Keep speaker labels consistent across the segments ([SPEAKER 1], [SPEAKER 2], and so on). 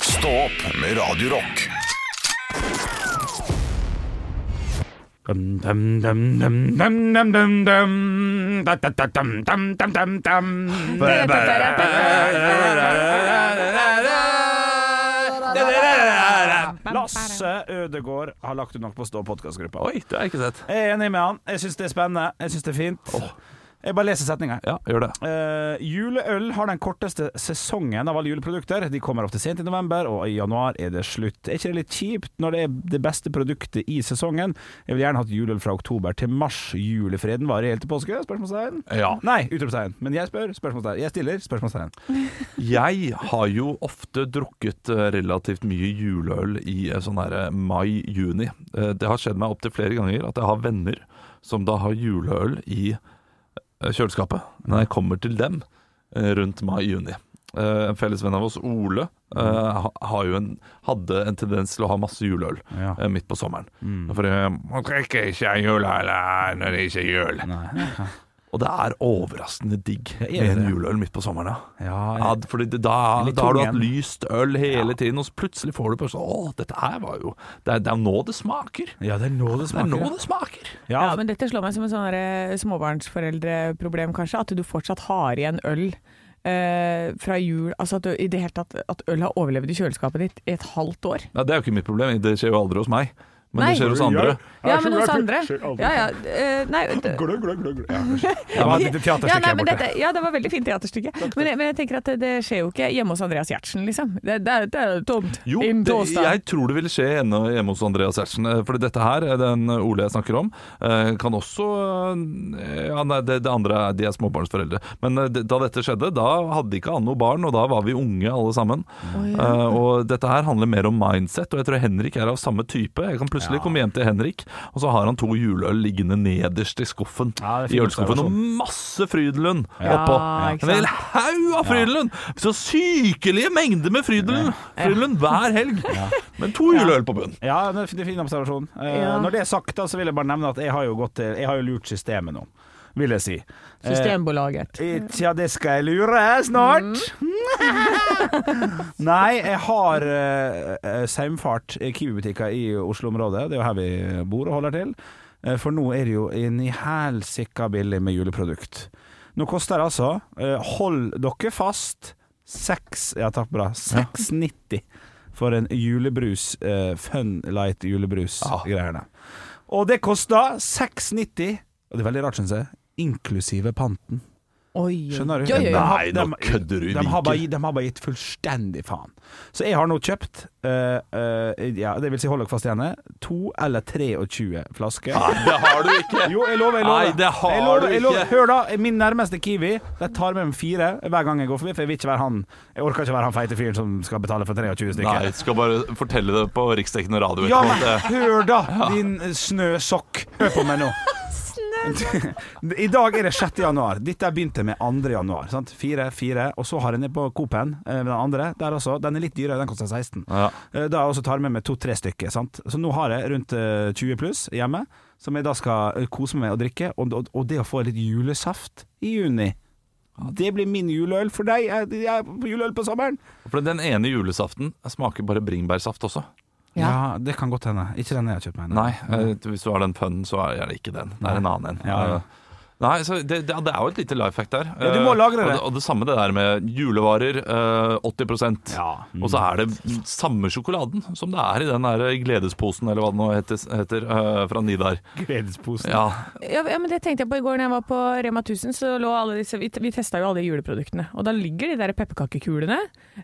[SPEAKER 1] Stå opp med Radio Rock.
[SPEAKER 2] Dum, dum, dum, dum, dum, dum, dum, dum. Da, da, da, dum, dum, dum, dum, dum. Lasse Ødegård har lagt ut noe på Stå podkastgruppa.
[SPEAKER 3] Oi, det har jeg ikke sett.
[SPEAKER 2] Jeg er enig med han. Jeg syns det er spennende. Jeg syns det er fint. Jeg bare leser setninga.
[SPEAKER 3] Ja, gjør det.
[SPEAKER 2] Eh, juleøl har den korteste sesongen av alle juleprodukter. De kommer ofte sent i november, og i januar er det slutt. Er ikke det litt kjipt når det er det beste produktet i sesongen? Jeg vil gjerne hatt juleøl fra oktober til mars. Julefreden varer helt til påske? Spørsmålstegn.
[SPEAKER 3] Ja.
[SPEAKER 2] Nei, utropstegn. Men jeg spør, spørsmålstegn. Jeg stiller, spørsmålstegn.
[SPEAKER 3] Jeg har jo ofte drukket eh, relativt mye juleøl i eh, sånn her eh, mai-juni. Eh, Det har skjedd meg opptil flere ganger at jeg har venner som da har juleøl i eh, kjøleskapet. Når jeg kommer til dem eh, rundt mai-juni. Eh, En felles venn av oss, Ole, eh, ha- har jo en, hadde en tendens til å ha masse juleøl
[SPEAKER 2] Ja. Mm.
[SPEAKER 3] eh, midt på sommeren. For eh, man drikker ikke juleøl eh, når det ikke er jul. Og det er overraskende digg
[SPEAKER 2] Ja, er det
[SPEAKER 3] med en
[SPEAKER 2] det?
[SPEAKER 3] juleøl midt på sommeren. Ja.
[SPEAKER 2] Ja,
[SPEAKER 3] Ja,
[SPEAKER 2] jeg-
[SPEAKER 3] fordi det, da,
[SPEAKER 2] Litt
[SPEAKER 3] da har du
[SPEAKER 2] tung
[SPEAKER 3] hatt
[SPEAKER 2] igjen.
[SPEAKER 3] lyst øl hele tiden, og så plutselig får du på sånn Å, dette her var jo Det er, det er nå det smaker.
[SPEAKER 2] ja, det er nå det
[SPEAKER 3] Det er nå
[SPEAKER 2] smaker.
[SPEAKER 3] det smaker.
[SPEAKER 2] Ja,
[SPEAKER 4] Ja, men dette slår meg som en sånn der, eh, småbarnsforeldreproblem, kanskje. At du fortsatt har igjen øl eh, fra jul. Altså at, du, i det hele tatt, at øl har overlevd i kjøleskapet ditt i et halvt år.
[SPEAKER 3] Ja, det er jo ikke mitt problem, det skjer jo aldri hos meg. Men
[SPEAKER 4] Nei.
[SPEAKER 3] det skjer hos andre.
[SPEAKER 4] Ja, men hos andre. Ja, ja. eh, nei, det-
[SPEAKER 2] det var et lite
[SPEAKER 4] ja,
[SPEAKER 2] teaterstykke
[SPEAKER 4] nei,
[SPEAKER 2] her
[SPEAKER 4] men
[SPEAKER 2] borte.
[SPEAKER 4] dette, ja, det var veldig fint teaterstykke. Men jeg, men jeg tenker at det, det skjer jo ikke hjemme hos Andreas Gjertsen, liksom. Det, det, er- det er jo tomt.
[SPEAKER 3] Jo,
[SPEAKER 4] Im
[SPEAKER 3] det,
[SPEAKER 4] torsdag.
[SPEAKER 3] jeg tror det vil skje ennå hjemme hos Andreas Gjertsen. eh, Fordi dette her, eh, den Ole jeg snakker om, eh, kan også eh, Ja, nei, det, det andre er de er småbarnsforeldre. Men eh, det- da dette skjedde, da hadde ikke Anne noe barn, og da var vi unge alle sammen. Eh, Og dette her handler mer om mindset, og jeg tror Henrik er av samme type. Jeg kan plutselig komme hjem til Henrik, og så har han to juleøl liggende nederst i skuffen.
[SPEAKER 2] Ja, det er
[SPEAKER 3] I
[SPEAKER 2] fin
[SPEAKER 3] ølskuffen, og masse Frydenlund oppå.
[SPEAKER 4] ikke
[SPEAKER 3] En hel
[SPEAKER 4] sant?
[SPEAKER 3] haug av Frydenlund! Så sykelige mengder med Frydenlund Frydenlund hver helg! Men to juleøl på bunnen.
[SPEAKER 2] Ja, det er en fin observasjon. Eh,
[SPEAKER 4] Ja.
[SPEAKER 2] Når det er sagt, da, så vil jeg bare nevne at jeg har jo, gått til, jeg har jo lurt systemet nå, vil jeg si. Eh,
[SPEAKER 4] Systembolaget.
[SPEAKER 2] Tja, det skal jeg lure snart. Nei, jeg har eh, eh, saumfart i Kiwi-butikker i Oslo-området. Det er jo her vi bor og holder til. Eh, for nå er det jo inn i helsika billig med juleprodukt. Nå koster det altså eh, Hold dere fast. 6 Ja, takk bra. 6,90 for en julebrus. eh, fun light julebrus-greiene. Og det koster 6,90. Og det er veldig rart, syns jeg. Inklusive panten.
[SPEAKER 4] Oi,
[SPEAKER 2] Skjønner du?
[SPEAKER 4] Oi, oi, oi.
[SPEAKER 3] Nei, nå kødder du
[SPEAKER 2] de,
[SPEAKER 3] ikke.
[SPEAKER 2] har bare, gi- de har bare gitt fullstendig faen. Så jeg har nå kjøpt eh, eh, ja, Det vil si, hold dere fast igjen, to eller 23 flasker.
[SPEAKER 3] Det har du ikke!
[SPEAKER 2] Jo, jeg lover, jeg lover.
[SPEAKER 3] Ah. Nei, det har
[SPEAKER 2] jeg lover,
[SPEAKER 3] du
[SPEAKER 2] jeg lover.
[SPEAKER 3] ikke.
[SPEAKER 2] Hør da, min nærmeste Kiwi De tar med meg fire hver gang jeg går forbi, for jeg vil ikke være han Jeg orker ikke være han feite fyren som skal betale for 23 stykker.
[SPEAKER 3] Nei, skal bare fortelle det på riksdekkende radio.
[SPEAKER 2] Ja, men
[SPEAKER 3] etterpå.
[SPEAKER 2] hør da, din snøsokk. Hør på meg nå. I dag er det 6. januar. Dette begynte med 2. januar. Sant? Fire, fire. Og så har jeg nede på Coop-en eh, den andre. Der også. Den er litt dyrere, den koster 16.
[SPEAKER 3] Ja.
[SPEAKER 2] Eh, Da jeg også tar med meg to-tre stykker. Sant? Så nå har jeg rundt eh, 20 pluss hjemme, som jeg da skal eh, kose meg med å drikke. Og, og, og det å få litt julesaft i juni, det blir min juleøl for deg. Jeg, jeg, juleøl på sommeren.
[SPEAKER 3] For den ene julesaften smaker bare bringebærsaft også.
[SPEAKER 2] Ja.
[SPEAKER 4] Ja.
[SPEAKER 2] det kan godt hende. Ikke den jeg har kjøpt meg.
[SPEAKER 3] Nei, eh, hvis du har den fønnen, så er det ikke den. Det er en annen en.
[SPEAKER 2] Ja, ja.
[SPEAKER 3] Eh, Nei, så det, det det er jo et lite life hack der.
[SPEAKER 2] Ja, du må
[SPEAKER 3] Eh,
[SPEAKER 2] lagre
[SPEAKER 3] og
[SPEAKER 2] det.
[SPEAKER 3] Og det samme det der med julevarer. eh, 80
[SPEAKER 2] Ja.
[SPEAKER 3] Og så er det samme sjokoladen som det er i den der gledesposen, eller hva det nå heter, heter eh, fra Nidar.
[SPEAKER 2] Mm. Gledesposen.
[SPEAKER 3] Ja,
[SPEAKER 4] Ja, ja, men det tenkte jeg på i går når jeg var på Rema 1000. Så lå alle disse, vi, vi testa jo alle de juleproduktene. Og da ligger de der pepperkakekulene.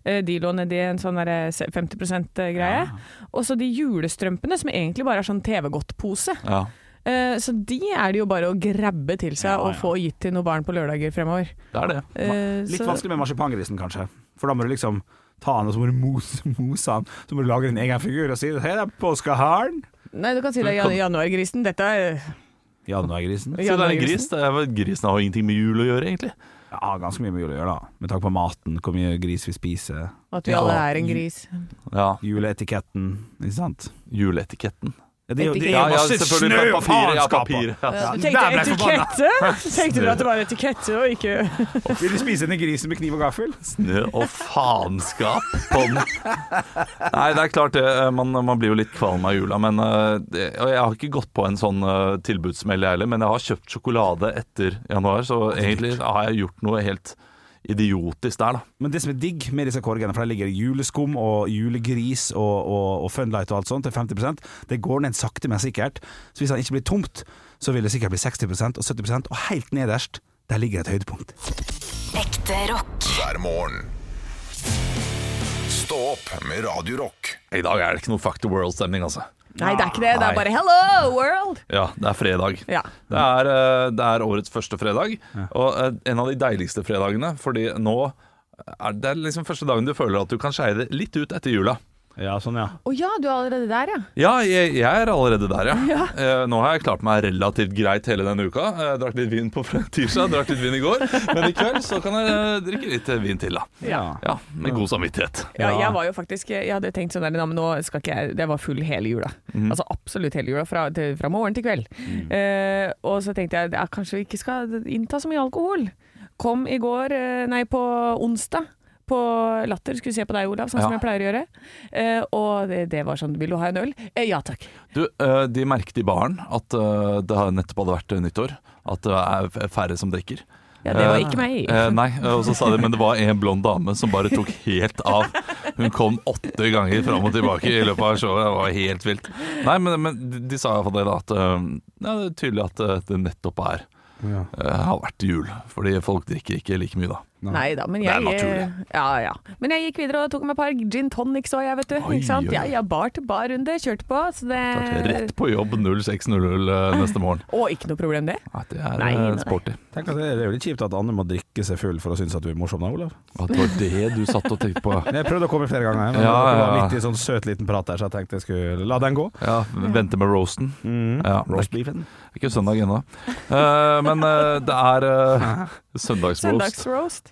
[SPEAKER 4] eh, De lå nedi en sånn der 50 eh, %-greie. Og så de julestrømpene, som egentlig bare er sånn TV-godtpose.
[SPEAKER 3] ja.
[SPEAKER 4] Eh, Så de er det jo bare å grabbe til seg og få gitt til noen barn på lørdager fremover.
[SPEAKER 3] Det er det.
[SPEAKER 4] Eh,
[SPEAKER 2] Litt
[SPEAKER 4] så-
[SPEAKER 2] vanskelig med marsipangrisen, kanskje. For da må du liksom ta den, og så må du mose, mose den. Så må du lage din egen figur og si Hei, det er påskeharen.
[SPEAKER 4] Nei, du kan si det er jan januargrisen. Dette er
[SPEAKER 2] Januargrisen.
[SPEAKER 3] Så det er en gris. Det er, vel- grisen har jo ingenting med jul å gjøre, egentlig.
[SPEAKER 2] Ja, ganske mye med jul å gjøre, da. Med tanke på maten, hvor mye gris vi spiser,
[SPEAKER 4] At vi
[SPEAKER 3] Ja.
[SPEAKER 4] alle er en gris.
[SPEAKER 3] Ja,
[SPEAKER 2] juleetiketten, ikke sant.
[SPEAKER 3] Juleetiketten.
[SPEAKER 2] Det er jo det er
[SPEAKER 4] Ja,
[SPEAKER 3] ja,
[SPEAKER 2] masse
[SPEAKER 3] selvfølgelig,
[SPEAKER 2] snø og
[SPEAKER 3] papir, ja,
[SPEAKER 2] faenskap!
[SPEAKER 3] papir, ja.
[SPEAKER 2] Ja,
[SPEAKER 4] Eh, Du
[SPEAKER 2] der ble
[SPEAKER 4] tenkte
[SPEAKER 2] jeg forbanna.
[SPEAKER 4] etikette? Så tenkte du at det var etikette og ikke
[SPEAKER 2] Vil du spise denne grisen med kniv og gaffel?
[SPEAKER 3] Snø og faenskap på den. Nei, det er klart det. eh, Man, man blir jo litt kvalm av jula. Men, eh, det- og jeg har ikke gått på en sånn eh, tilbudssmell, jeg heller. Men jeg har kjøpt sjokolade etter januar, så egentlig har jeg gjort noe helt idiotisk der, da.
[SPEAKER 2] Men det som er digg med disse korgene, for der ligger det juleskum og julegris og, og, og Funlight og alt sånt til 50 det går ned sakte, men sikkert. Så hvis han ikke blir tomt, så vil det sikkert bli 60 og 70 og helt nederst, der ligger et høydepunkt.
[SPEAKER 5] Ekte rock.
[SPEAKER 1] hver morgen. Stå opp med Radio Rock.
[SPEAKER 3] I dag er det ikke noe fuck the world-stemning, altså.
[SPEAKER 4] Nei, det er ikke det. Det
[SPEAKER 3] Nei.
[SPEAKER 4] er bare 'hello, world'.
[SPEAKER 3] Ja, det er fredag.
[SPEAKER 4] Ja.
[SPEAKER 3] Det er, eh, det er årets første fredag, og eh, en av de deiligste fredagene, fordi nå er det er liksom første dagen du føler at du kan skeie det litt ut etter jula.
[SPEAKER 2] Ja, sånn, ja.
[SPEAKER 4] Å ja, du er allerede der, ja.
[SPEAKER 3] Ja, jeg, jeg er allerede der, ja. Eh, nå har jeg klart meg relativt greit hele denne uka. Eh, drakk litt vin på fr- tirsdag, drakk litt vin i går, men i kveld så kan jeg eh, drikke litt eh, vin til, da.
[SPEAKER 4] Ja.
[SPEAKER 3] Ja, med god samvittighet.
[SPEAKER 4] Ja,
[SPEAKER 2] Ja.
[SPEAKER 4] jeg var jo faktisk Jeg hadde tenkt sånn der, "Nei, men nå skal ikke jeg Jeg var full hele jula.
[SPEAKER 3] Mhm.
[SPEAKER 4] Altså absolutt hele jula, fra, til, fra morgen til kveld. Eh, og så tenkte jeg ja, kanskje vi ikke skal innta så mye alkohol. Kom i går, eh, nei på onsdag. På Latter skulle se på deg, Olav, sånn som
[SPEAKER 3] Ja.
[SPEAKER 4] jeg pleier å gjøre. Eh, og det, det var sånn Vil du ha en øl? Eh, ja takk.
[SPEAKER 3] Du, eh, de merket i baren at eh, det har nettopp hadde vært eh, nyttår, at det er f- færre som drikker.
[SPEAKER 4] Ja, det var
[SPEAKER 3] Eh,
[SPEAKER 4] ikke meg.
[SPEAKER 3] eh, nei, eh, og så sa de, men det var en blond dame som bare tok helt av. Hun kom åtte ganger fram og tilbake i løpet av showet, det var helt vilt. Nei, men, men de- de sa iallfall det, da, at eh, ja, det er tydelig at eh, det nettopp er
[SPEAKER 2] Ja.
[SPEAKER 3] eh, har vært jul, fordi folk drikker ikke like mye da.
[SPEAKER 4] Nei da, men
[SPEAKER 3] Det
[SPEAKER 4] jeg,
[SPEAKER 3] er
[SPEAKER 4] eh,
[SPEAKER 3] naturlig.
[SPEAKER 4] ja, ja. men jeg gikk videre og tok meg et par gin tonics òg, jeg, vet du.
[SPEAKER 3] Oi,
[SPEAKER 4] ikke sant?
[SPEAKER 3] oi,
[SPEAKER 4] Ja,
[SPEAKER 3] oi.
[SPEAKER 4] ja, bar til bar-runde, kjørte på. Så det
[SPEAKER 3] Klart, Rett på jobb 06.00 eh, neste morgen.
[SPEAKER 4] Og ikke noe problem, det.
[SPEAKER 3] Nei, det er
[SPEAKER 4] Ah, Nei,
[SPEAKER 3] eh,
[SPEAKER 4] nei.
[SPEAKER 3] sporty.
[SPEAKER 2] Tenk at det, det er jo litt kjipt at Anne må drikke seg full for å synes at du er morsom da, Olav.
[SPEAKER 3] At det var det du satt og tenkte på.
[SPEAKER 2] Jeg prøvde å komme flere ganger, men
[SPEAKER 3] Ja,
[SPEAKER 2] det var
[SPEAKER 3] ja.
[SPEAKER 2] midt i en sånn søt liten prat der, så jeg tenkte jeg skulle la den gå.
[SPEAKER 3] Ja, vente med roasten. Ja, det
[SPEAKER 2] Mm. Roast beefen.
[SPEAKER 3] er ikke søndag ennå. Eh, men eh, det er eh, søndagsroast.
[SPEAKER 4] Søndagsroast.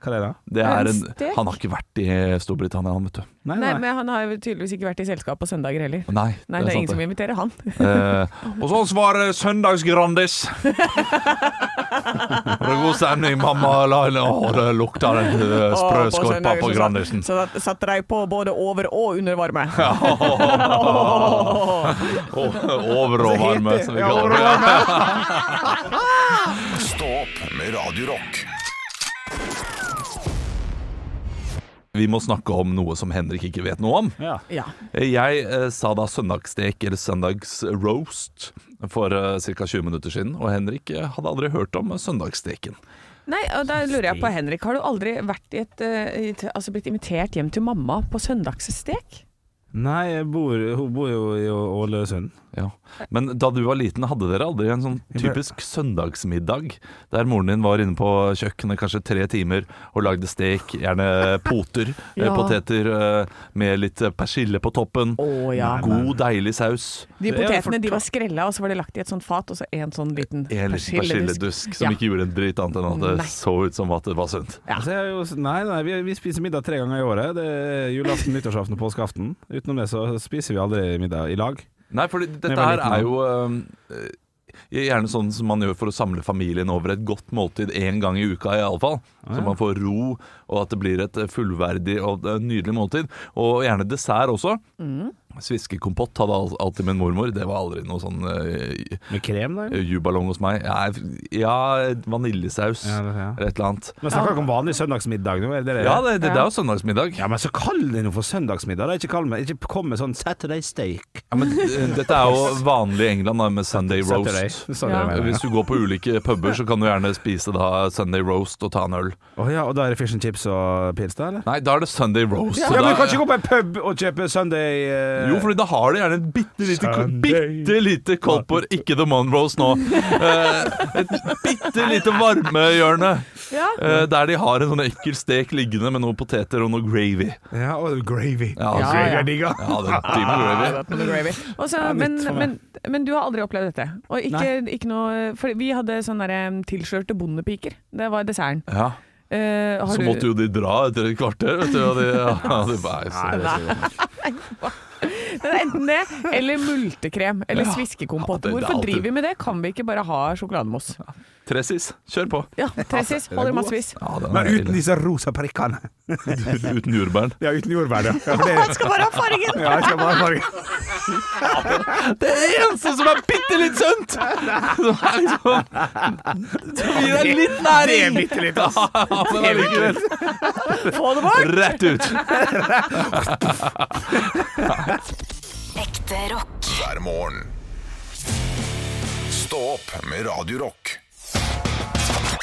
[SPEAKER 2] Hva er det da?
[SPEAKER 3] Det er en,
[SPEAKER 4] En stek.
[SPEAKER 3] han har ikke vært i eh, Storbritannia, han, vet du.
[SPEAKER 4] Nei, men han har jo tydeligvis ikke vært i selskap på søndager heller.
[SPEAKER 3] Nei,
[SPEAKER 4] Nei, det er ingen
[SPEAKER 3] sant,
[SPEAKER 4] som inviterer han.
[SPEAKER 3] Eh, og så var det søndagsgrandis. Det var god stemning, mamma. Laila. Å, det lukta den eh, sprø
[SPEAKER 4] Å, på
[SPEAKER 3] skorpa
[SPEAKER 4] søndager
[SPEAKER 3] på
[SPEAKER 4] så satt-
[SPEAKER 3] Grandisen.
[SPEAKER 4] Så satt- satte de på både over og under varme.
[SPEAKER 3] Og- Over og varme, som vi
[SPEAKER 2] Ja,
[SPEAKER 3] kaller
[SPEAKER 2] over og
[SPEAKER 3] det.
[SPEAKER 1] Stå opp med Radio Rock.
[SPEAKER 3] Vi må snakke om noe som Henrik ikke vet noe om.
[SPEAKER 2] Ja.
[SPEAKER 4] Ja.
[SPEAKER 3] Jeg eh, sa da søndagsstek eller søndagsroast for eh, ca. 20 minutter siden, og Henrik eh, hadde aldri hørt om eh, søndagssteken.
[SPEAKER 4] Nei, og da lurer jeg på, Henrik, har du aldri vært i et, eh, i et Altså blitt invitert hjem til mamma på søndagsstek?
[SPEAKER 2] Nei, jeg bor, hun bor jo i Ålesund.
[SPEAKER 3] Ja. Men da du var liten, hadde dere aldri en sånn typisk søndagsmiddag der moren din var inne på kjøkkenet kanskje tre timer og lagde stek, gjerne poter, eh,
[SPEAKER 4] Ja.
[SPEAKER 3] poteter eh, med litt eh, persille på toppen,
[SPEAKER 4] Å ja.
[SPEAKER 3] god deilig saus,
[SPEAKER 4] De
[SPEAKER 2] Det er jo
[SPEAKER 4] potetene de
[SPEAKER 2] fortalt.
[SPEAKER 4] var skrella, og så var det lagt i et sånt fat, og så en sånn liten
[SPEAKER 3] en liten persilledusk som
[SPEAKER 4] Ja.
[SPEAKER 3] ikke gjorde en drit annet enn at det
[SPEAKER 4] Nei.
[SPEAKER 3] så ut som at det var sunt.
[SPEAKER 4] Ja.
[SPEAKER 2] Altså, jeg er jo, nei, nei vi, vi spiser middag tre ganger i året. Det er julaften, nyttårsaften og påskeaften. Utenom det så spiser vi aldri middag i lag.
[SPEAKER 3] Nei, for dette
[SPEAKER 2] jeg var
[SPEAKER 3] her
[SPEAKER 2] liten
[SPEAKER 3] er jo eh, gjerne sånn som man gjør for å samle familien over et godt måltid én gang i uka iallfall. Så man får ro, og at det blir et eh, fullverdig og et nydelig måltid. Og gjerne dessert også. Sviskekompott hadde al- alltid min mormor. Det var aldri noe sånn eh,
[SPEAKER 2] Med krem, da? eller?
[SPEAKER 3] jubalong hos meg. Nei, Ja, vaniljesaus
[SPEAKER 2] Ja, det- ja.
[SPEAKER 3] eller et eller annet.
[SPEAKER 2] Men snakker dere om vanlig søndagsmiddag nå? Er det det?
[SPEAKER 3] Ja, det, det, det
[SPEAKER 4] Ja.
[SPEAKER 3] er jo søndagsmiddag.
[SPEAKER 2] Ja, men så kall det noe for søndagsmiddag. Da. Ikke, kall meg, ikke kom med sånn Saturday steak.
[SPEAKER 3] Ja, men eh, dette er jo vanlig i England da, med Sunday roast.
[SPEAKER 2] Saturday. Sorry,
[SPEAKER 4] Ja.
[SPEAKER 2] jeg mener, ja.
[SPEAKER 3] Hvis du går på ulike puber, så kan du gjerne spise da Sunday roast og ta en øl.
[SPEAKER 2] Å ja, og da er det fish and chips og pils, da? eller?
[SPEAKER 3] Nei, da er det Sunday roast.
[SPEAKER 2] Ja,
[SPEAKER 3] så
[SPEAKER 2] men
[SPEAKER 3] da-
[SPEAKER 2] Du kan ikke gå på en pub og kjøpe Sunday eh,
[SPEAKER 3] jo, fordi da har du gjerne en bitte lite,
[SPEAKER 2] Sunday.
[SPEAKER 3] bitte lite koldtbord Ikke The Monroes nå. Eh, et bitte lite varmehjørne
[SPEAKER 4] Ja.
[SPEAKER 3] eh, der de har en sånn ekkel stek liggende med noen poteter og noe gravy.
[SPEAKER 2] Ja, og gravy.
[SPEAKER 3] Ja,
[SPEAKER 4] Ja,
[SPEAKER 3] altså,
[SPEAKER 4] ja.
[SPEAKER 2] Jeg digger.
[SPEAKER 3] ja det er dyp gravy.
[SPEAKER 4] Med gravy. Og så-
[SPEAKER 2] Ja, nytt
[SPEAKER 4] men,
[SPEAKER 2] for meg.
[SPEAKER 4] men, men du har aldri opplevd dette? Og ikke, ikke noe, for vi hadde sånne der, em, tilskjørte bondepiker. Det var desserten.
[SPEAKER 3] Ja,
[SPEAKER 4] Eh, har
[SPEAKER 3] så
[SPEAKER 4] du-
[SPEAKER 3] måtte jo de dra etter et kvarter, vet du. Og de, ja, de, bare-
[SPEAKER 4] Nei. Men enten det, eller multekrem, eller
[SPEAKER 3] Ja.
[SPEAKER 4] sviskekompott.
[SPEAKER 3] Ja, det- det er
[SPEAKER 4] Hvorfor
[SPEAKER 3] alltid-
[SPEAKER 4] driver vi med det? Kan vi ikke bare ha sjokolademos?
[SPEAKER 3] Tressis, kjør på.
[SPEAKER 4] Ja, Tressis, holder i massevis.
[SPEAKER 3] Ja, den er
[SPEAKER 2] Men uten
[SPEAKER 3] ille.
[SPEAKER 2] disse rosa prikkene.
[SPEAKER 3] uten jordbæren.
[SPEAKER 2] Ja, uten jordbær, ja. ja for det,
[SPEAKER 4] Skal bare ha fargen!
[SPEAKER 2] ja, jeg skal bare farge.
[SPEAKER 3] Det eneste som er bitte litt sunt! Som er liksom Som gir deg
[SPEAKER 2] Det
[SPEAKER 3] litt
[SPEAKER 2] er
[SPEAKER 3] næring!
[SPEAKER 2] bitte litt, ass.
[SPEAKER 3] Ja, men allikevel.
[SPEAKER 4] Få det bort!
[SPEAKER 3] Rett ut.
[SPEAKER 5] Ekte rock.
[SPEAKER 1] hver morgen. Stå opp med Radio Rock.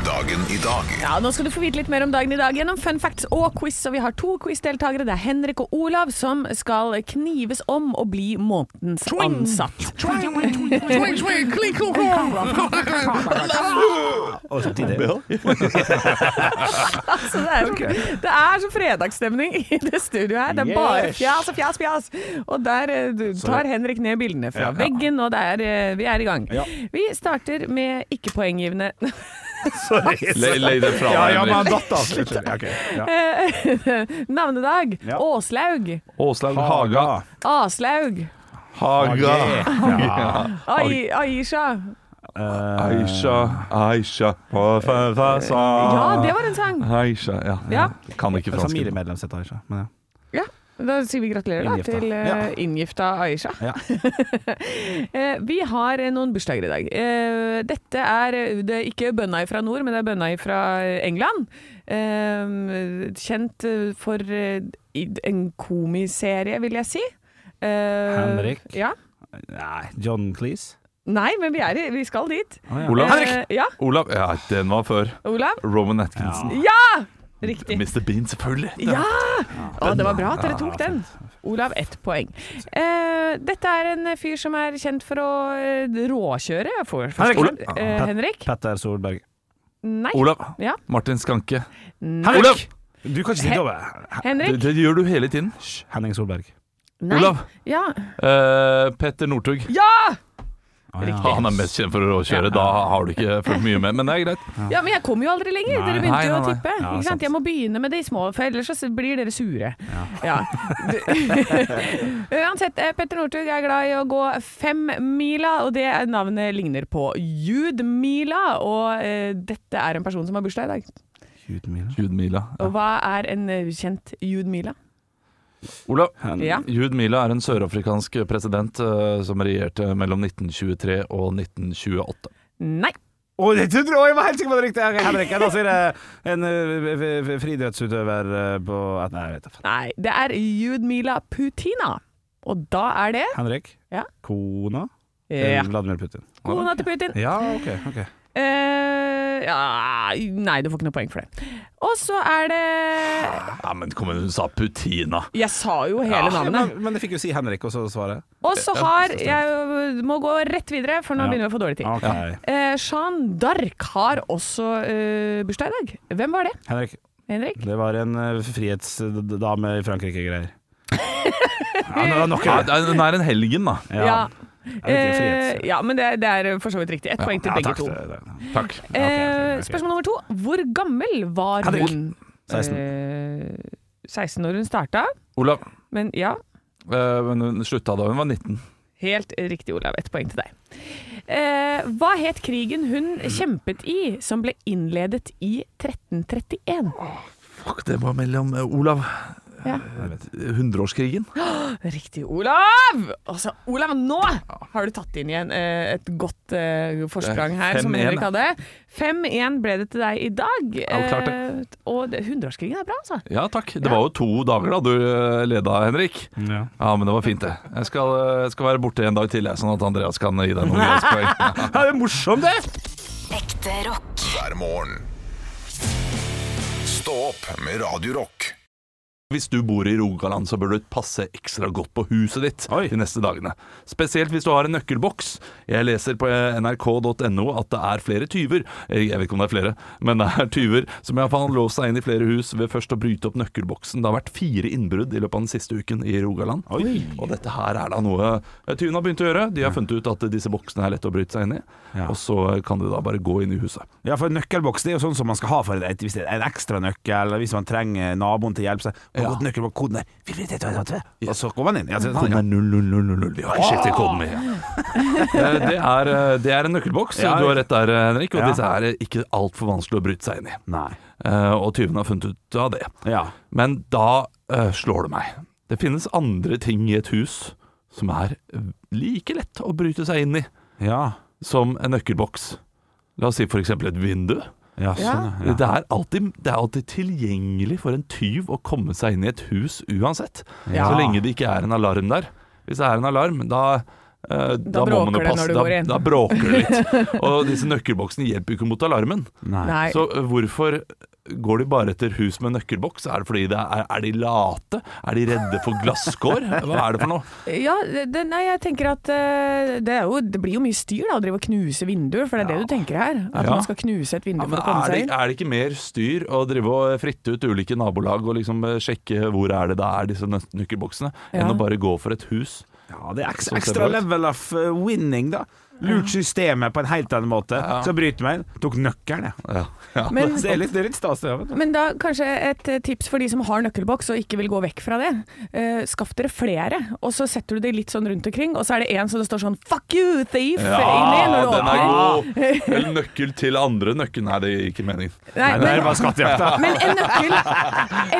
[SPEAKER 1] Dagen i dag
[SPEAKER 4] Ja, Nå skal du få vite litt mer om dagen i dag gjennom fun facts og quiz. Og vi har to quizdeltakere. Det er Henrik og Olav som skal knives om å bli månedens ansatt.
[SPEAKER 2] Og samtidig
[SPEAKER 4] Altså, det, er så, det er så fredagsstemning i det studioet her. Det er bare
[SPEAKER 2] Yes.
[SPEAKER 4] fjas og fjas, fjas. Og der eh, du tar Henrik ned bildene fra
[SPEAKER 2] Ja.
[SPEAKER 4] veggen, og det er, eh, vi er i gang.
[SPEAKER 2] Ja.
[SPEAKER 4] Vi starter med ikke-poenggivende
[SPEAKER 2] Sorry.
[SPEAKER 3] Le- legg det fra
[SPEAKER 2] Ja,
[SPEAKER 3] deg,
[SPEAKER 2] ja,
[SPEAKER 3] Henrik.
[SPEAKER 2] men han datt av. Unnskyld. Ja, ok. Ja.
[SPEAKER 4] navnedag.
[SPEAKER 2] Ja.
[SPEAKER 4] Åslaug.
[SPEAKER 3] Åslaug Haga.
[SPEAKER 4] Aslaug.
[SPEAKER 3] Haga.
[SPEAKER 4] Ai, Aisha.
[SPEAKER 3] Aisha, Aisha
[SPEAKER 4] Ja,
[SPEAKER 3] Ja,
[SPEAKER 4] det var en sang.
[SPEAKER 3] Aisha, ja.
[SPEAKER 4] Ja.
[SPEAKER 3] Kan ikke
[SPEAKER 2] sånn
[SPEAKER 3] fransk.
[SPEAKER 2] Familiemedlem, sitt Aisha. Men ja.
[SPEAKER 4] Ja, da sier vi gratulerer da,
[SPEAKER 2] Inngifta.
[SPEAKER 4] til eh,
[SPEAKER 2] Ja.
[SPEAKER 4] inngifta Aisha.
[SPEAKER 2] Ja.
[SPEAKER 4] Eh, vi har eh, noen bursdager i dag. Eh, dette er, eh, det er ikke bønna fra nord, men det er bønna fra England. Eh, kjent eh, for eh, i- en komiserie, vil jeg si. Eh,
[SPEAKER 2] Henrik?
[SPEAKER 4] Ja.
[SPEAKER 2] Nei, John Cleese?
[SPEAKER 4] Nei, men vi, er, i- vi skal dit.
[SPEAKER 2] Å, ja.
[SPEAKER 3] Olav?
[SPEAKER 4] Eh, ja,
[SPEAKER 3] Olav? Ja, den var før.
[SPEAKER 4] Olav?
[SPEAKER 3] Roman Atkinson.
[SPEAKER 4] Ja! Riktig.
[SPEAKER 3] Mr. Bean, selvfølgelig.
[SPEAKER 4] Ja! Å, det var bra at dere tok den. Olav, ett poeng. Eh, dette er en fyr som er kjent for å eh, råkjøre. jeg får-
[SPEAKER 2] Henrik.
[SPEAKER 4] forstår-
[SPEAKER 2] Olav.
[SPEAKER 4] Eh, Henrik?
[SPEAKER 2] Petter Solberg.
[SPEAKER 4] Nei.
[SPEAKER 3] Olav.
[SPEAKER 4] Ja.
[SPEAKER 3] Martin Skanke.
[SPEAKER 4] Nei.
[SPEAKER 3] Olav!
[SPEAKER 2] Du kan ikke si det over.
[SPEAKER 3] Det,
[SPEAKER 4] Henrik?
[SPEAKER 3] det gjør du hele tiden.
[SPEAKER 2] Henning Solberg.
[SPEAKER 4] Nei.
[SPEAKER 3] Olav.
[SPEAKER 4] Ja!
[SPEAKER 3] Eh, Petter Northug.
[SPEAKER 4] Ja!
[SPEAKER 2] Å, ja.
[SPEAKER 3] Han er mest kjent for å råkjøre. Da har du ikke fulgt mye med, men det er greit.
[SPEAKER 4] ja! Men jeg kom jo aldri lenger.
[SPEAKER 2] Nei.
[SPEAKER 4] Dere begynte jo
[SPEAKER 3] Nei,
[SPEAKER 4] å
[SPEAKER 3] nei, nei.
[SPEAKER 4] tippe.
[SPEAKER 2] Ja,
[SPEAKER 4] ikke
[SPEAKER 2] sant.
[SPEAKER 4] sant? Jeg må begynne med de små, for ellers så blir dere sure. Ja. Uansett, eh, Petter Northug er glad i å gå femmila, og det er- navnet ligner på Judmila. Og eh, dette er en person som har bursdag i dag.
[SPEAKER 2] Judmila.
[SPEAKER 3] Jude Mila.
[SPEAKER 4] Og hva er en eh, kjent Judmila?
[SPEAKER 3] Olav.
[SPEAKER 4] Ja.
[SPEAKER 3] Jude Mila er en sørafrikansk president eh, som regjerte mellom 1923 og 1928.
[SPEAKER 4] Nei.
[SPEAKER 2] Å, det trodde du! Å, jeg var helt sikker på det riktige! Ok, Henrik, da sier jeg en ø, f- f- friidrettsutøver ø, på at, Nei, jeg vet da faen.
[SPEAKER 4] Nei, det er Judmila Putina. Og da er det
[SPEAKER 2] Henrik?
[SPEAKER 4] Ja.
[SPEAKER 2] Kona? til
[SPEAKER 4] ja.
[SPEAKER 2] Vladimir Putin.
[SPEAKER 4] kona til Putin.
[SPEAKER 2] Ja, OK. ok
[SPEAKER 4] Eh, ja, nei, du får ikke noe poeng for det. Og så er det
[SPEAKER 3] Ja, men kom igjen, hun sa Putina.
[SPEAKER 4] Jeg sa jo hele
[SPEAKER 2] Ja,
[SPEAKER 4] navnet.
[SPEAKER 2] men, men jeg fikk jo si Henrik, og så svaret.
[SPEAKER 4] Og så har Jeg må gå rett videre, for nå
[SPEAKER 2] Ja.
[SPEAKER 4] begynner vi å få dårlig tid.
[SPEAKER 2] Ok.
[SPEAKER 4] Eh, Jeanne d'Arc har også eh, bursdag i dag. Hvem var det,
[SPEAKER 2] Henrik,
[SPEAKER 4] Henrik?
[SPEAKER 2] det var en ø, frihetsdame i Frankrike-greier. Ja, det var nok
[SPEAKER 3] Ja,
[SPEAKER 2] av
[SPEAKER 3] det er- Hun er en helgen, da.
[SPEAKER 2] det. Ja. det er ikke frihets-
[SPEAKER 4] Eh, ja men det, det er for så vidt riktig. Ett poeng til
[SPEAKER 2] Ja,
[SPEAKER 4] begge
[SPEAKER 2] takk,
[SPEAKER 4] to.
[SPEAKER 2] det- det- det-
[SPEAKER 3] Takk.
[SPEAKER 2] ok,
[SPEAKER 4] Eh,
[SPEAKER 2] ok.
[SPEAKER 4] Spørsmål nummer to. Hvor gammel var
[SPEAKER 2] Henrik.
[SPEAKER 4] hun?
[SPEAKER 2] 16.
[SPEAKER 4] Eh, 16 når hun starta,
[SPEAKER 3] Olav.
[SPEAKER 4] men ja.
[SPEAKER 3] eh, men hun slutta da hun var 19.
[SPEAKER 4] Helt riktig, Olav. Ett poeng til deg. Eh, hva het krigen hun kjempet i, som ble innledet i 1331?
[SPEAKER 3] Fuck, det var mellom eh, Olav
[SPEAKER 4] Ja.
[SPEAKER 3] Hundreårskrigen.
[SPEAKER 4] Riktig, Olav! Altså, Olav, nå har du tatt inn igjen eh, et godt eh, forsprang her, som
[SPEAKER 3] 5-1,
[SPEAKER 4] Henrik
[SPEAKER 3] da.
[SPEAKER 4] hadde. 5-1 ble det til deg i dag.
[SPEAKER 3] Ja, klart det.
[SPEAKER 4] Eh, og det- hundreårskrigen er bra, altså.
[SPEAKER 3] Ja takk. Det var jo to dager da du eh, leda, Henrik.
[SPEAKER 2] Ja.
[SPEAKER 3] Ja, men det var fint, det. Jeg skal, eh, jeg skal være borte en dag til, jeg, sånn at Andreas kan gi deg noen gradspoeng.
[SPEAKER 2] Ja, det er morsomt, det!
[SPEAKER 5] Ekte rock.
[SPEAKER 1] hver morgen. Stå opp med Radio Rock.
[SPEAKER 3] Hvis du bor i Rogaland, så bør du passe ekstra godt på huset ditt
[SPEAKER 2] Oi.
[SPEAKER 3] de neste dagene. Spesielt hvis du har en nøkkelboks. Jeg leser på nrk.no at det er flere tyver. Eh, Jeg vet ikke om det er flere, men det er tyver som iallfall har låst seg inn i flere hus ved først å bryte opp nøkkelboksen. Det har vært fire innbrudd i løpet av den siste uken i Rogaland.
[SPEAKER 2] Oi.
[SPEAKER 3] Og dette her er da noe tyvene har begynt å gjøre. De har funnet ut at disse boksene er lette å bryte seg inn i,
[SPEAKER 2] Ja.
[SPEAKER 3] og så kan de da bare gå inn i huset.
[SPEAKER 2] Ja, for nøkkelboks det er jo sånn som man skal ha for et, hvis det er en ekstra nøkkel, hvis man trenger naboen til hjelp. Så,
[SPEAKER 3] Ja.
[SPEAKER 2] ja. nøkkelboks, koden er 433, og så går man inn. Ja, så,
[SPEAKER 3] Koden er 0000. Vi har ikke skiftet koden, vi. Eh, Det er, eh, det er en nøkkelboks.
[SPEAKER 2] Ja.
[SPEAKER 3] Du har rett der, eh, Henrik. Og
[SPEAKER 2] Ja.
[SPEAKER 3] disse er eh, ikke altfor vanskelig å bryte seg inn i.
[SPEAKER 2] Nei.
[SPEAKER 3] Eh, Og tyvene har funnet ut av det.
[SPEAKER 2] Ja.
[SPEAKER 3] Men da eh, slår det meg. Det finnes andre ting i et hus som er eh, like lett å bryte seg inn i
[SPEAKER 2] Ja.
[SPEAKER 3] som en nøkkelboks. La oss si f.eks. et vindu.
[SPEAKER 2] Ja, sånn, ja.
[SPEAKER 3] Det, er alltid, det er alltid tilgjengelig for en tyv å komme seg inn i et hus uansett.
[SPEAKER 2] Ja.
[SPEAKER 3] Så lenge det ikke er en alarm der. Hvis det er en alarm, da eh, da, må
[SPEAKER 4] bråker
[SPEAKER 3] man jo
[SPEAKER 4] det
[SPEAKER 3] passe,
[SPEAKER 4] når du
[SPEAKER 3] da,
[SPEAKER 4] går inn.
[SPEAKER 3] da bråker det litt. Og disse nøkkelboksene hjelper jo ikke mot alarmen.
[SPEAKER 2] Nei.
[SPEAKER 4] Nei.
[SPEAKER 3] Så eh, hvorfor går de bare etter hus med nøkkelboks? Er det fordi det er, er de late? Er de redde for glasskår? Hva er det for noe?
[SPEAKER 4] Ja, det, nei, jeg tenker at eh, det, er jo, det blir jo mye styr da, å drive og knuse vinduer, for det er det du tenker her. At
[SPEAKER 3] Ja.
[SPEAKER 4] man skal knuse et vindu
[SPEAKER 3] Ja, men
[SPEAKER 4] for å komme
[SPEAKER 3] er, det,
[SPEAKER 4] seg inn.
[SPEAKER 3] er det ikke mer styr å drive og fritte ut ulike nabolag og liksom eh, sjekke hvor er det da er disse nø- nøkkelboksene, enn
[SPEAKER 4] Ja.
[SPEAKER 3] å bare gå for et hus?
[SPEAKER 2] Ja, det er
[SPEAKER 3] Sånn
[SPEAKER 2] ekstra,
[SPEAKER 3] ser det
[SPEAKER 2] ekstra
[SPEAKER 3] ut.
[SPEAKER 2] level of uh, winning, da. Lurt systemet på en helt annen måte. Så bryter meg inn. Tok nøkkelen, jeg.
[SPEAKER 3] Ja.
[SPEAKER 4] Men,
[SPEAKER 2] Så Det er litt, det er litt stas, det. vet du.
[SPEAKER 4] men da kanskje et eh, tips for de som har nøkkelboks og ikke vil gå vekk fra det. Eh, skaff dere flere, og så setter du det litt sånn rundt omkring, og så er det en som det står sånn 'fuck you, thief' inni når du
[SPEAKER 3] den er
[SPEAKER 4] åpner.
[SPEAKER 3] god! Eller nøkkel til andre nøkkel. Nei, det gir ikke mening.
[SPEAKER 4] Nei,
[SPEAKER 2] Det
[SPEAKER 4] men,
[SPEAKER 2] er bare skattejakt, da.
[SPEAKER 4] men en nøkkel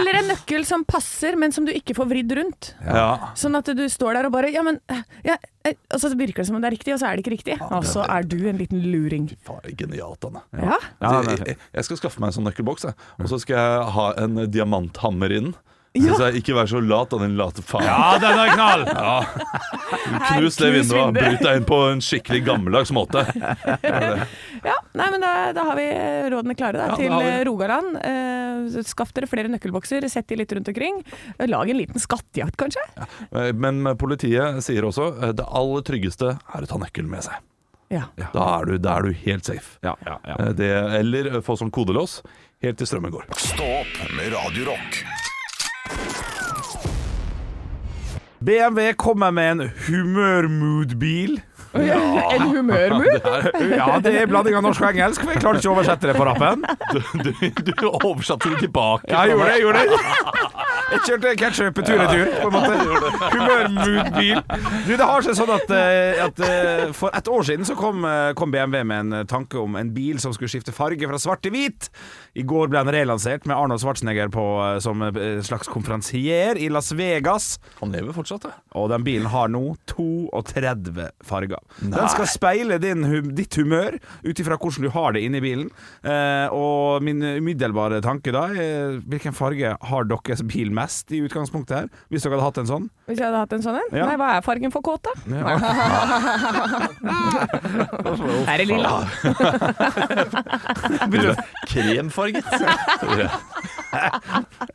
[SPEAKER 4] Eller en nøkkel som passer, men som du ikke får vridd rundt.
[SPEAKER 3] Ja.
[SPEAKER 4] Sånn at du står der og bare Ja, men ja, eh», Og så virker det som om det er riktig, og så er det ikke riktig. Og så er du en liten luring.
[SPEAKER 3] Faen, genialt, Anne.
[SPEAKER 4] Ja.
[SPEAKER 2] Ja,
[SPEAKER 3] jeg,
[SPEAKER 2] det er-
[SPEAKER 3] jeg- jeg skal skaffe meg en sånn nøkkelboks, jeg. Og så skal jeg ha en eh, diamanthammer i den. Så skal jeg ikke være så lat av den late faen.
[SPEAKER 2] ja, den er knall!
[SPEAKER 3] Knus det
[SPEAKER 4] knus
[SPEAKER 3] vinduet og
[SPEAKER 4] vinduet.
[SPEAKER 3] bryt deg inn på en skikkelig gammeldags måte.
[SPEAKER 4] ja. Nei, men da, da har vi eh, rådene klare da,
[SPEAKER 3] Ja, da
[SPEAKER 4] til
[SPEAKER 3] har vi
[SPEAKER 4] eh, Rogaland. Eh, Skaff dere flere nøkkelbokser, sett de litt rundt omkring. Lag en liten skattejakt, kanskje.
[SPEAKER 3] Eh, Men politiet sier også eh, det aller tryggeste er å ta nøkkelen med seg.
[SPEAKER 4] Ja.
[SPEAKER 3] Da er du, da er du helt safe.
[SPEAKER 2] Ja, ja, ja.
[SPEAKER 3] Eh, Det, eller eh, få sånn kodelås helt til strømmen går.
[SPEAKER 1] Stå opp med Radio Rock.
[SPEAKER 2] BMW kommer med en humørmood-bil.
[SPEAKER 4] En humørmur.
[SPEAKER 2] Ja, det er blanding av norsk og engelsk, for jeg klarte ikke å oversette det på rappen.
[SPEAKER 3] Du, du, du oversatte det tilbake.
[SPEAKER 2] Ja, jeg gjorde det, jeg gjorde det. Jeg kjørte ketsjup på tur-retur, på en måte. Humørmood-bil. Du, det har seg sånn at, eh, at eh, for et år siden så kom, eh, kom BMW med en eh, tanke om en bil som skulle skifte farge fra svart til hvit. I går ble den relansert med Arnold Schwarzenegger på, eh, som eh, slags konferansier i Las Vegas.
[SPEAKER 3] Han lever fortsatt, det.
[SPEAKER 2] Og den bilen har nå 32 farger. Den skal speile din, hum- ditt humør ut ifra hvordan du har det inni bilen. Eh, og min umiddelbare tanke da er hvilken farge har deres bil mest i utgangspunktet her? Hvis dere hadde hatt en sånn?
[SPEAKER 4] Hvis jeg hadde hatt en sånn en.
[SPEAKER 2] Ja.
[SPEAKER 4] Nei, hva er fargen for kåt, da? Her er lilla.
[SPEAKER 3] Kremfarget.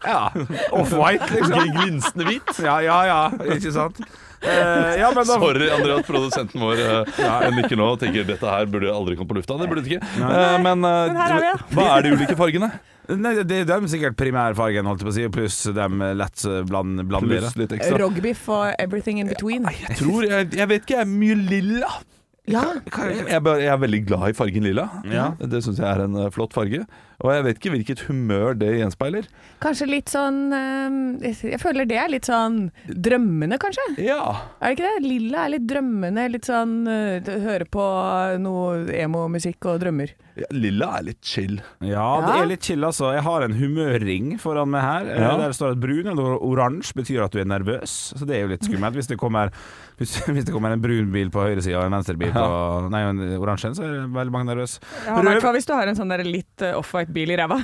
[SPEAKER 2] Ja. Off-white, liksom.
[SPEAKER 3] Glinsende hvit.
[SPEAKER 2] Ja, ja, ja. Ikke sant? Eh, ja, men da
[SPEAKER 3] Sorry, André, at produsenten vår eh, nikker nå og tenker dette her burde aldri komme på lufta. Det burde det ikke. Eh, men eh,
[SPEAKER 4] Men her er vi,
[SPEAKER 3] hva er de ulike fargene?
[SPEAKER 2] Nei, det er dem sikkert primærfargen, holdt jeg på å si, pluss dem lett bland, blandbare.
[SPEAKER 3] Pluss litt ekstra.
[SPEAKER 4] Rogbiff og everything in between.
[SPEAKER 3] Jeg tror, jeg, jeg vet ikke, jeg er mye lilla.
[SPEAKER 4] Ja.
[SPEAKER 3] Jeg, er bare- jeg er veldig glad i fargen lilla.
[SPEAKER 2] Ja.
[SPEAKER 3] Det syns jeg er en eh, flott farge. Og jeg vet ikke hvilket humør det gjenspeiler.
[SPEAKER 4] Kanskje litt sånn eh, Jeg føler det er litt sånn drømmende, kanskje?
[SPEAKER 3] Ja,
[SPEAKER 4] Er det ikke det? Lilla er litt drømmende, litt sånn eh, Høre på noe emo-musikk og drømmer.
[SPEAKER 3] ja, Lilla er litt chill.
[SPEAKER 2] Ja, det er litt chill, altså. Jeg har en humørring foran meg her. Eh,
[SPEAKER 3] Ja.
[SPEAKER 2] Der det står at brun eller oransje betyr at du er nervøs, så det er jo litt skummelt hvis det kommer, hvis, hvis det kommer en brun bil på høyresida og en venstrebil rød og Nei, en oransje en, så er det veldig mange nervøse.
[SPEAKER 4] Ja, I hvert fall hvis du har en sånn der litt eh, offwhite-bil i ræva.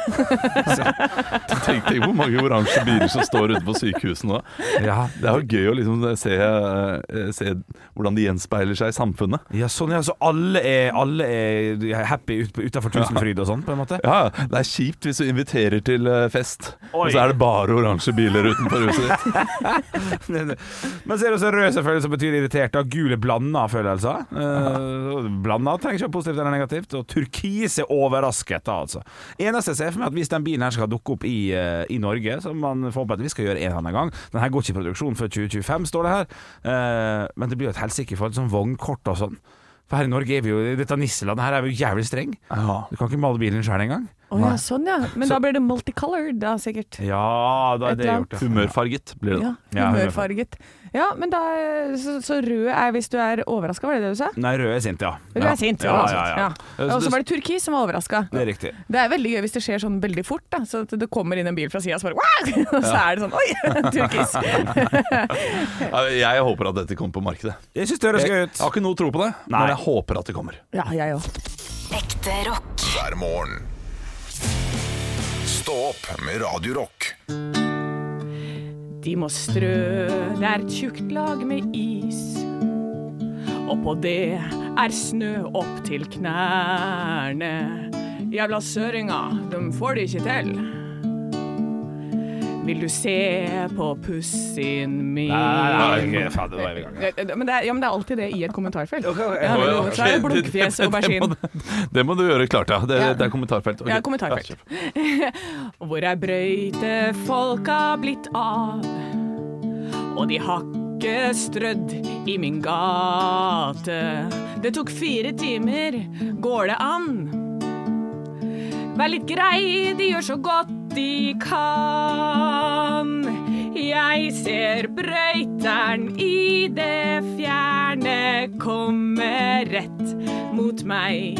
[SPEAKER 3] Tenk deg hvor mange oransje biler som står ute på sykehusene nå.
[SPEAKER 2] Ja,
[SPEAKER 3] Det er jo gøy å liksom se, eh, se hvordan de gjenspeiler seg i samfunnet.
[SPEAKER 2] ja, sånn, ja. Så alle er, alle er happy ut, utenfor Tusenfryd og sånn, på en måte?
[SPEAKER 3] Ja, Det er kjipt hvis du inviterer til eh, fest,
[SPEAKER 2] Oi.
[SPEAKER 3] og så er det bare oransje biler utenfor huset ditt.
[SPEAKER 2] Men så er det også rød, selvfølgelig, som betyr irritert. Da. Gule blanda følelser. Eh, blanda trenger ikke være positivt eller negativt. Og turkis er overrasket, da, altså. Eneste jeg ser for meg, at hvis den bilen her skal dukke opp i, eh, i Norge, som man forhåpentligvis skal gjøre en eller annen gang Den her går ikke i produksjon før 2025, står det her. Eh, men det blir jo et helsike i forhold til sånn vognkort og sånn. For her i Norge er vi jo i dette nisselandet her er vi jo jævlig streng. Du kan ikke male bilen sjøl engang.
[SPEAKER 4] Å ja, sånn ja. Men da blir det multicolored, da sikkert.
[SPEAKER 2] Ja, da er
[SPEAKER 4] Et
[SPEAKER 2] det
[SPEAKER 4] eller
[SPEAKER 2] gjort.
[SPEAKER 4] annet.
[SPEAKER 2] ja.
[SPEAKER 3] Humørfarget blir det.
[SPEAKER 4] Ja,
[SPEAKER 3] da.
[SPEAKER 2] Ja,
[SPEAKER 4] humørfarget. Ja, men da eh, Så, så rød er hvis du er overraska, var det det du sa?
[SPEAKER 2] Nei, rød er sint, ja.
[SPEAKER 4] Rød er sint.
[SPEAKER 2] Ja,
[SPEAKER 4] rød
[SPEAKER 2] ja,
[SPEAKER 4] er
[SPEAKER 2] ja.
[SPEAKER 4] sint, ja. Og så var det turkis som var overraska.
[SPEAKER 2] Det er riktig.
[SPEAKER 4] Det er veldig gøy hvis det skjer sånn veldig fort, da. Så at det kommer inn en bil fra sida, og så bare «Wow!» Og så er det sånn Oi, turkis.
[SPEAKER 3] Ja, Jeg håper at dette kommer på markedet.
[SPEAKER 2] Jeg syns det høres
[SPEAKER 3] Jeg,
[SPEAKER 2] gøy
[SPEAKER 3] jeg
[SPEAKER 2] ut.
[SPEAKER 3] har ikke noe tro på det,
[SPEAKER 2] Nei.
[SPEAKER 3] men jeg håper at det kommer.
[SPEAKER 4] Ja, jeg òg.
[SPEAKER 5] Ekte rock.
[SPEAKER 1] hver morgen. Stå opp med Radio Rock.
[SPEAKER 4] De må strø, det er et tjukt lag med is. Oppå det er snø opp til knærne. Jævla søringa, de får det ikke til. Vil du se på pussien min Det- det- Men det er, ja, men det er alltid det i et kommentarfelt. Ja, men
[SPEAKER 3] Å, ja,
[SPEAKER 4] Så er det
[SPEAKER 3] ok.
[SPEAKER 4] blunkfjes og
[SPEAKER 3] Det- det-
[SPEAKER 4] aubergine.
[SPEAKER 3] Det, må du- det må du gjøre klart, ja. Det,
[SPEAKER 4] Ja.
[SPEAKER 3] det er kommentarfelt. Ok.
[SPEAKER 4] Ja, kommentarfelt.
[SPEAKER 3] Ja,
[SPEAKER 4] Hvor er brøytefolka blitt av? Og de har ikke strødd i min gate. Det tok fire timer, går det an? Vær litt grei, de gjør så godt de kan. Jeg ser brøyteren i det fjerne komme rett mot meg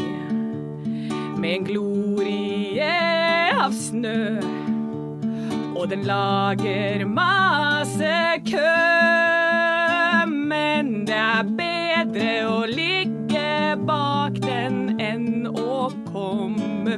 [SPEAKER 4] med en glorie av snø. Og den lager masse kø. Men det er bedre å ligge bak den enn å komme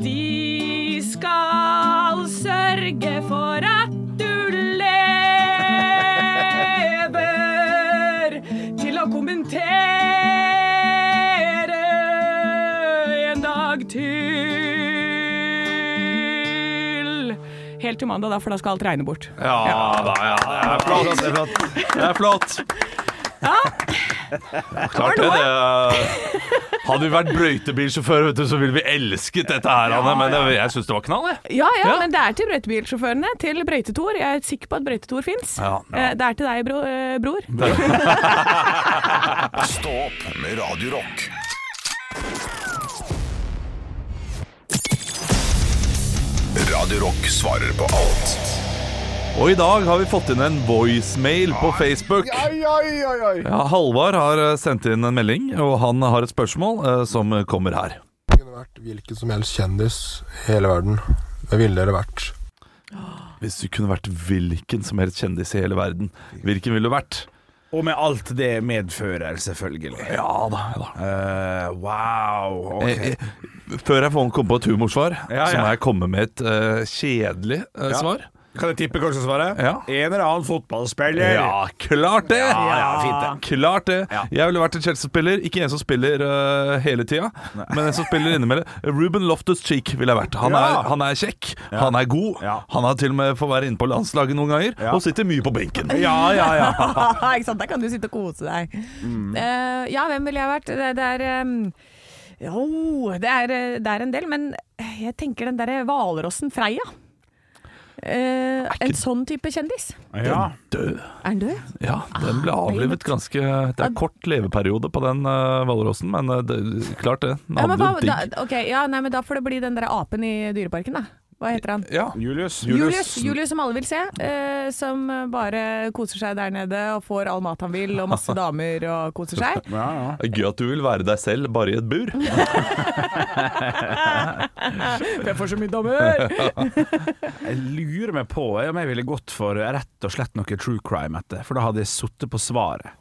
[SPEAKER 4] De skal sørge for at du lever til å kommentere en dag til. Helt til mandag, da, for da skal alt regne bort.
[SPEAKER 3] da, ja. Det er flott. Det er flott. Det er flott. Ja, klart det. det. Hadde vi vært brøytebilsjåfør, vet du, så ville vi elsket dette her, Anne. Men det, jeg syns det var knall, jeg.
[SPEAKER 4] Ja, ja,
[SPEAKER 3] Ja.
[SPEAKER 4] men det er til brøytebilsjåførene. Til Brøytetor. Jeg er sikker på at Brøytetor fins.
[SPEAKER 3] Ja,
[SPEAKER 4] Det er til deg, bro, eh, bror.
[SPEAKER 1] Stå opp med Radio Rock. Radio Rock svarer på alt.
[SPEAKER 3] Og i dag har vi fått inn en voicemail på Facebook. Ja, Halvard har eh, sendt inn en melding, og han har et spørsmål eh, som kommer her.
[SPEAKER 6] kunne vært hvilken som helst kjendis i hele verden. Hvem ville dere vært?
[SPEAKER 3] Hvis du kunne vært hvilken som helst kjendis i hele verden, hvilken ville du vært?
[SPEAKER 2] Og med alt det medfører, selvfølgelig.
[SPEAKER 3] Ja da, ja da.
[SPEAKER 2] Eh, wow. ok.
[SPEAKER 3] Eh, eh, Før jeg får komme på et humorsvar,
[SPEAKER 2] Ja,
[SPEAKER 3] så
[SPEAKER 2] ja.
[SPEAKER 3] må jeg komme med et eh, kjedelig eh,
[SPEAKER 2] Ja.
[SPEAKER 3] svar.
[SPEAKER 2] Kan jeg tippe hva som svarer?
[SPEAKER 3] Ja.
[SPEAKER 2] En eller annen fotballspiller.
[SPEAKER 3] Ja, klart det!
[SPEAKER 2] ja, fint
[SPEAKER 3] Klart det.
[SPEAKER 2] Ja.
[SPEAKER 3] Jeg ville vært en Chelsea-spiller. Ikke en som spiller eh, hele tida, men en som spiller innimellom. Ruben Loftus-Cheek ville jeg vært. Han,
[SPEAKER 2] Ja.
[SPEAKER 3] er, han er kjekk, han er god.
[SPEAKER 2] Ja.
[SPEAKER 3] Han har til og med fått være inne på landslaget noen ganger,
[SPEAKER 2] Ja.
[SPEAKER 3] og sitter mye på benken.
[SPEAKER 2] Ja, ja, ja.
[SPEAKER 4] Ikke sant? Der kan du sitte og kose deg. Eh, ja, hvem ville jeg vært? Det, det er ehm, eh, jo, det er, eh, det er en del, men jeg tenker den derre hvalrossen Freia. eh, en sånn type kjendis.
[SPEAKER 2] Ja.
[SPEAKER 3] Død.
[SPEAKER 4] Er han død?
[SPEAKER 3] Ja, den ble avlivet ganske Det er kort leveperiode på den eh, hvalrossen, men eh, det, klart det. Den
[SPEAKER 4] Ja, men,
[SPEAKER 3] hadde
[SPEAKER 4] hva,
[SPEAKER 3] jo
[SPEAKER 4] da,
[SPEAKER 3] digg.
[SPEAKER 4] ok, ja, nei, men da får det bli den derre apen i Dyreparken, da. Hva heter han?
[SPEAKER 3] Ja.
[SPEAKER 2] Julius.
[SPEAKER 4] Julius, Julius som alle vil se, eh, som bare koser seg der nede og får all mat han vil og masse damer og koser seg.
[SPEAKER 2] Ja, ja.
[SPEAKER 3] Det er Gøy at du vil være deg selv, bare i et bur.
[SPEAKER 4] Jeg får så mye dommer!
[SPEAKER 2] Jeg lurer meg på om jeg ville gått for rett og slett noe true crime etter, for da hadde jeg sittet på svaret.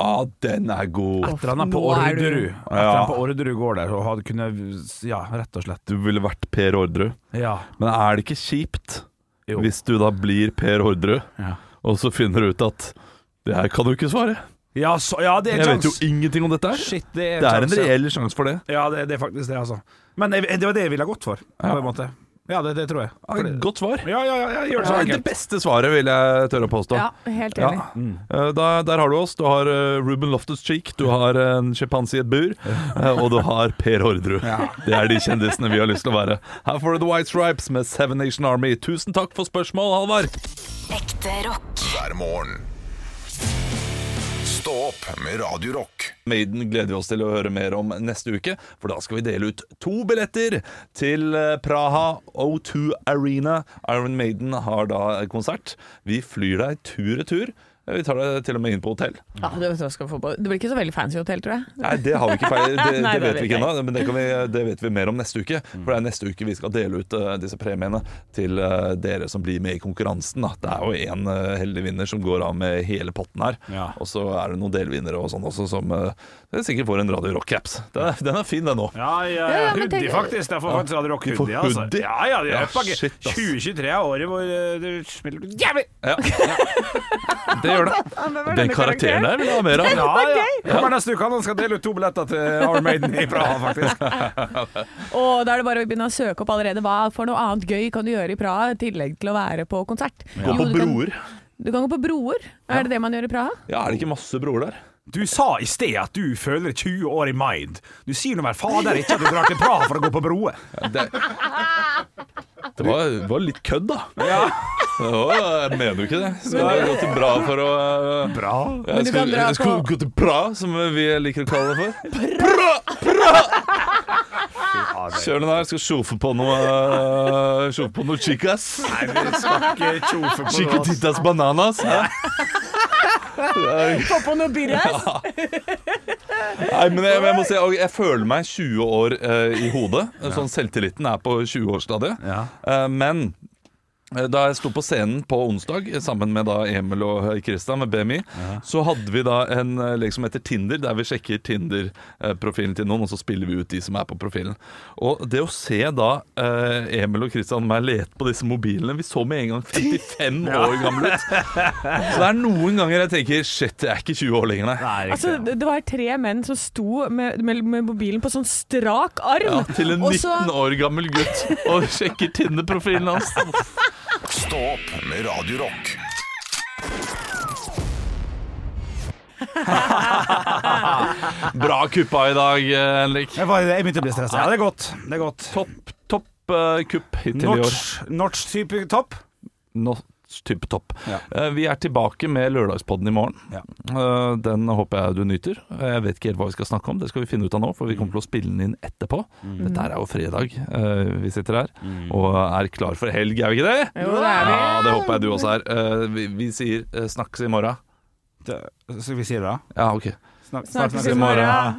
[SPEAKER 3] Ah, den er god!
[SPEAKER 2] Etter han er på
[SPEAKER 4] Nå er du-
[SPEAKER 2] Orderud. Etter
[SPEAKER 3] Ja.
[SPEAKER 2] han på Orderud går der og hadde kunne Ja, rett og slett.
[SPEAKER 3] Du ville vært Per Orderud.
[SPEAKER 2] Ja.
[SPEAKER 3] Men er det ikke kjipt
[SPEAKER 2] Jo.
[SPEAKER 3] hvis du da blir Per Orderud,
[SPEAKER 2] Ja.
[SPEAKER 3] og så finner du ut at det her kan du ikke svare?
[SPEAKER 2] Ja, så, ja det er
[SPEAKER 3] Jeg vet jo
[SPEAKER 2] sjans.
[SPEAKER 3] ingenting om dette her.
[SPEAKER 2] Shit, det er,
[SPEAKER 3] Det er en
[SPEAKER 2] sjans, ja.
[SPEAKER 3] reell sjanse for det.
[SPEAKER 2] Ja, det, det er faktisk det, altså. Men jeg, det var det jeg ville ha gått for, på en måte. Ja, det, det tror jeg. Fordi-
[SPEAKER 3] Ah, Godt svar.
[SPEAKER 2] Ja, ja, ja, jeg gjør det
[SPEAKER 3] Det
[SPEAKER 2] så
[SPEAKER 3] er det
[SPEAKER 2] enkelt.
[SPEAKER 3] beste svaret, vil jeg tørre å påstå.
[SPEAKER 4] Ja, helt
[SPEAKER 3] Ja.
[SPEAKER 4] enig.
[SPEAKER 3] Eh, Da, der har du oss. Du har eh, Ruben Loftus-Cheek, du har eh, en sjimpanse i et bur, eh, og du har Per Orderud. Det er de kjendisene vi har lyst til å være. Her får du The White Stripes med Seven Nation Army. Tusen takk for spørsmål, Halvard!
[SPEAKER 5] Ekte rock.
[SPEAKER 1] hver morgen. Stå opp med Radio Rock.
[SPEAKER 3] Maiden gleder vi oss til å høre mer om neste uke, for da skal vi dele ut to billetter til eh, Praha O2 Arena. Iron Maiden har da konsert. Vi flyr deg tur-retur. Eh, Vi tar deg til og med inn på hotell.
[SPEAKER 4] Ja, det, vet du hva jeg skal få på. det blir ikke så veldig fancy hotell, tror jeg.
[SPEAKER 3] Nei, det har vi ikke feil. Det,
[SPEAKER 4] Nei,
[SPEAKER 3] det
[SPEAKER 4] det
[SPEAKER 3] vet vi
[SPEAKER 4] vet
[SPEAKER 3] ikke Mm.
[SPEAKER 4] jeg
[SPEAKER 3] ennå, men det, kan vi, det vet vi mer om neste uke. For det er neste uke vi skal dele ut eh, disse premiene til eh, dere som blir med i konkurransen. Da. Det er jo én heldig vinner som går av med hele potten her.
[SPEAKER 2] Ja.
[SPEAKER 3] Og så er det noen delvinnere og sånn også som eh, sikkert får en Radio Rock-caps. Den, er- den er fin, den òg.
[SPEAKER 2] Ja, ja,
[SPEAKER 4] Ja,
[SPEAKER 2] ja,
[SPEAKER 4] ja, men
[SPEAKER 2] hoodie
[SPEAKER 4] tenk-
[SPEAKER 2] faktisk. Jeg får faktisk Radio Rock
[SPEAKER 3] Du får
[SPEAKER 2] hoodie, altså.
[SPEAKER 3] hoodie?
[SPEAKER 2] Ja, ja, det
[SPEAKER 3] Ja,
[SPEAKER 2] er pakke.
[SPEAKER 3] shit, ass.
[SPEAKER 2] 2023 er året hvor eh, det smeller jævlig!
[SPEAKER 3] Ja. Det gjør det. Den karakteren der vil jeg ha mer av.
[SPEAKER 2] Ja, ja. Kommer neste uke, han skal dele ut to billetter til Iron Maiden i Praha, faktisk.
[SPEAKER 4] Og da er det bare å begynne å søke opp allerede. Hva for noe annet gøy kan du gjøre i Praha, i tillegg til å være på konsert?
[SPEAKER 3] Gå på
[SPEAKER 4] du kan-
[SPEAKER 3] broer.
[SPEAKER 4] Du kan gå på broer. Er det det man gjør i Praha?
[SPEAKER 3] Ja, er det ikke masse broer der?
[SPEAKER 2] Du sa i sted at du føler 20 år i mind. Du sier nå vel fader ikke at du drar til Praha for å gå på broer.
[SPEAKER 3] Det, det var, var litt kødd, da. Det var, jeg mener jo ikke det. Skulle det gått bra for å eh,
[SPEAKER 2] Bra.
[SPEAKER 3] ja,
[SPEAKER 4] Men du kan
[SPEAKER 3] skulle,
[SPEAKER 4] dra
[SPEAKER 3] skulle
[SPEAKER 4] på-
[SPEAKER 3] gå til bra, som vi liker å kalle det for.
[SPEAKER 2] Ja, det
[SPEAKER 3] Kjør den her, skal sjofe på noe eh, Sjofe på noe chicas.
[SPEAKER 2] Nei, vi skal ikke tjofe på det. ass.
[SPEAKER 3] Chiquititas bananas. hæ?
[SPEAKER 4] Få på noe birras!
[SPEAKER 3] Nei, men jeg, jeg må si og Jeg føler meg 20 år eh, i hodet. Sånn selvtilliten er på 20-årsstadiet.
[SPEAKER 2] Ja.
[SPEAKER 3] Eh, men eh, da jeg sto på scenen på onsdag eh, sammen med da Emil og eh, Christian med BMI, så hadde vi da en eh, lek som heter Tinder, der vi sjekker Tinder-profilen til noen, og så spiller vi ut de som er på profilen. Og det å se da eh, Emil og Christian og meg lete på disse mobilene Vi så med en gang 55 år gamle ut. Så det er noen ganger jeg tenker Shit, jeg er ikke 20 år lenger, nei.
[SPEAKER 2] Nei, ikke.
[SPEAKER 4] Altså, det det var tre menn som sto med, med, med mobilen på sånn strak arm.
[SPEAKER 3] Ja, til en
[SPEAKER 4] og så-
[SPEAKER 3] 19 år gammel gutt og sjekker Tinder-profilen hans.
[SPEAKER 1] Stå opp med Radio Rock.
[SPEAKER 3] Bra kuppa i dag, eh, Henrik.
[SPEAKER 2] Jeg, var, jeg begynte å bli stressa. Ja, det er godt. Det er godt.
[SPEAKER 3] Topp, topp eh, kupp hittil i år.
[SPEAKER 2] Notch, notch type topp.
[SPEAKER 3] Notch type topp.
[SPEAKER 2] Ja.
[SPEAKER 3] Eh, Vi er tilbake med lørdagspodden i morgen.
[SPEAKER 2] Ja.
[SPEAKER 3] Eh, Den håper jeg du nyter. Jeg vet ikke helt hva vi skal snakke om, det skal vi finne ut av nå, for vi kommer til å spille den inn etterpå.
[SPEAKER 2] Mm.
[SPEAKER 3] Dette her er jo fredag eh, vi sitter her, og er klar for helg, er vi ikke det?
[SPEAKER 4] Jo, det er vi.
[SPEAKER 3] Ja, det håper jeg du også er. Eh, Vi, vi sier eh, snakkes i morgen.
[SPEAKER 2] Det- Skal vi si det, da?
[SPEAKER 3] Ja, ok.
[SPEAKER 2] Snak-
[SPEAKER 4] Snakkes i
[SPEAKER 3] i
[SPEAKER 4] morgen.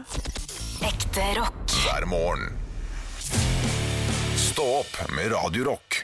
[SPEAKER 5] Ekte rock.
[SPEAKER 1] hver morgen. Stå opp med Radio Rock.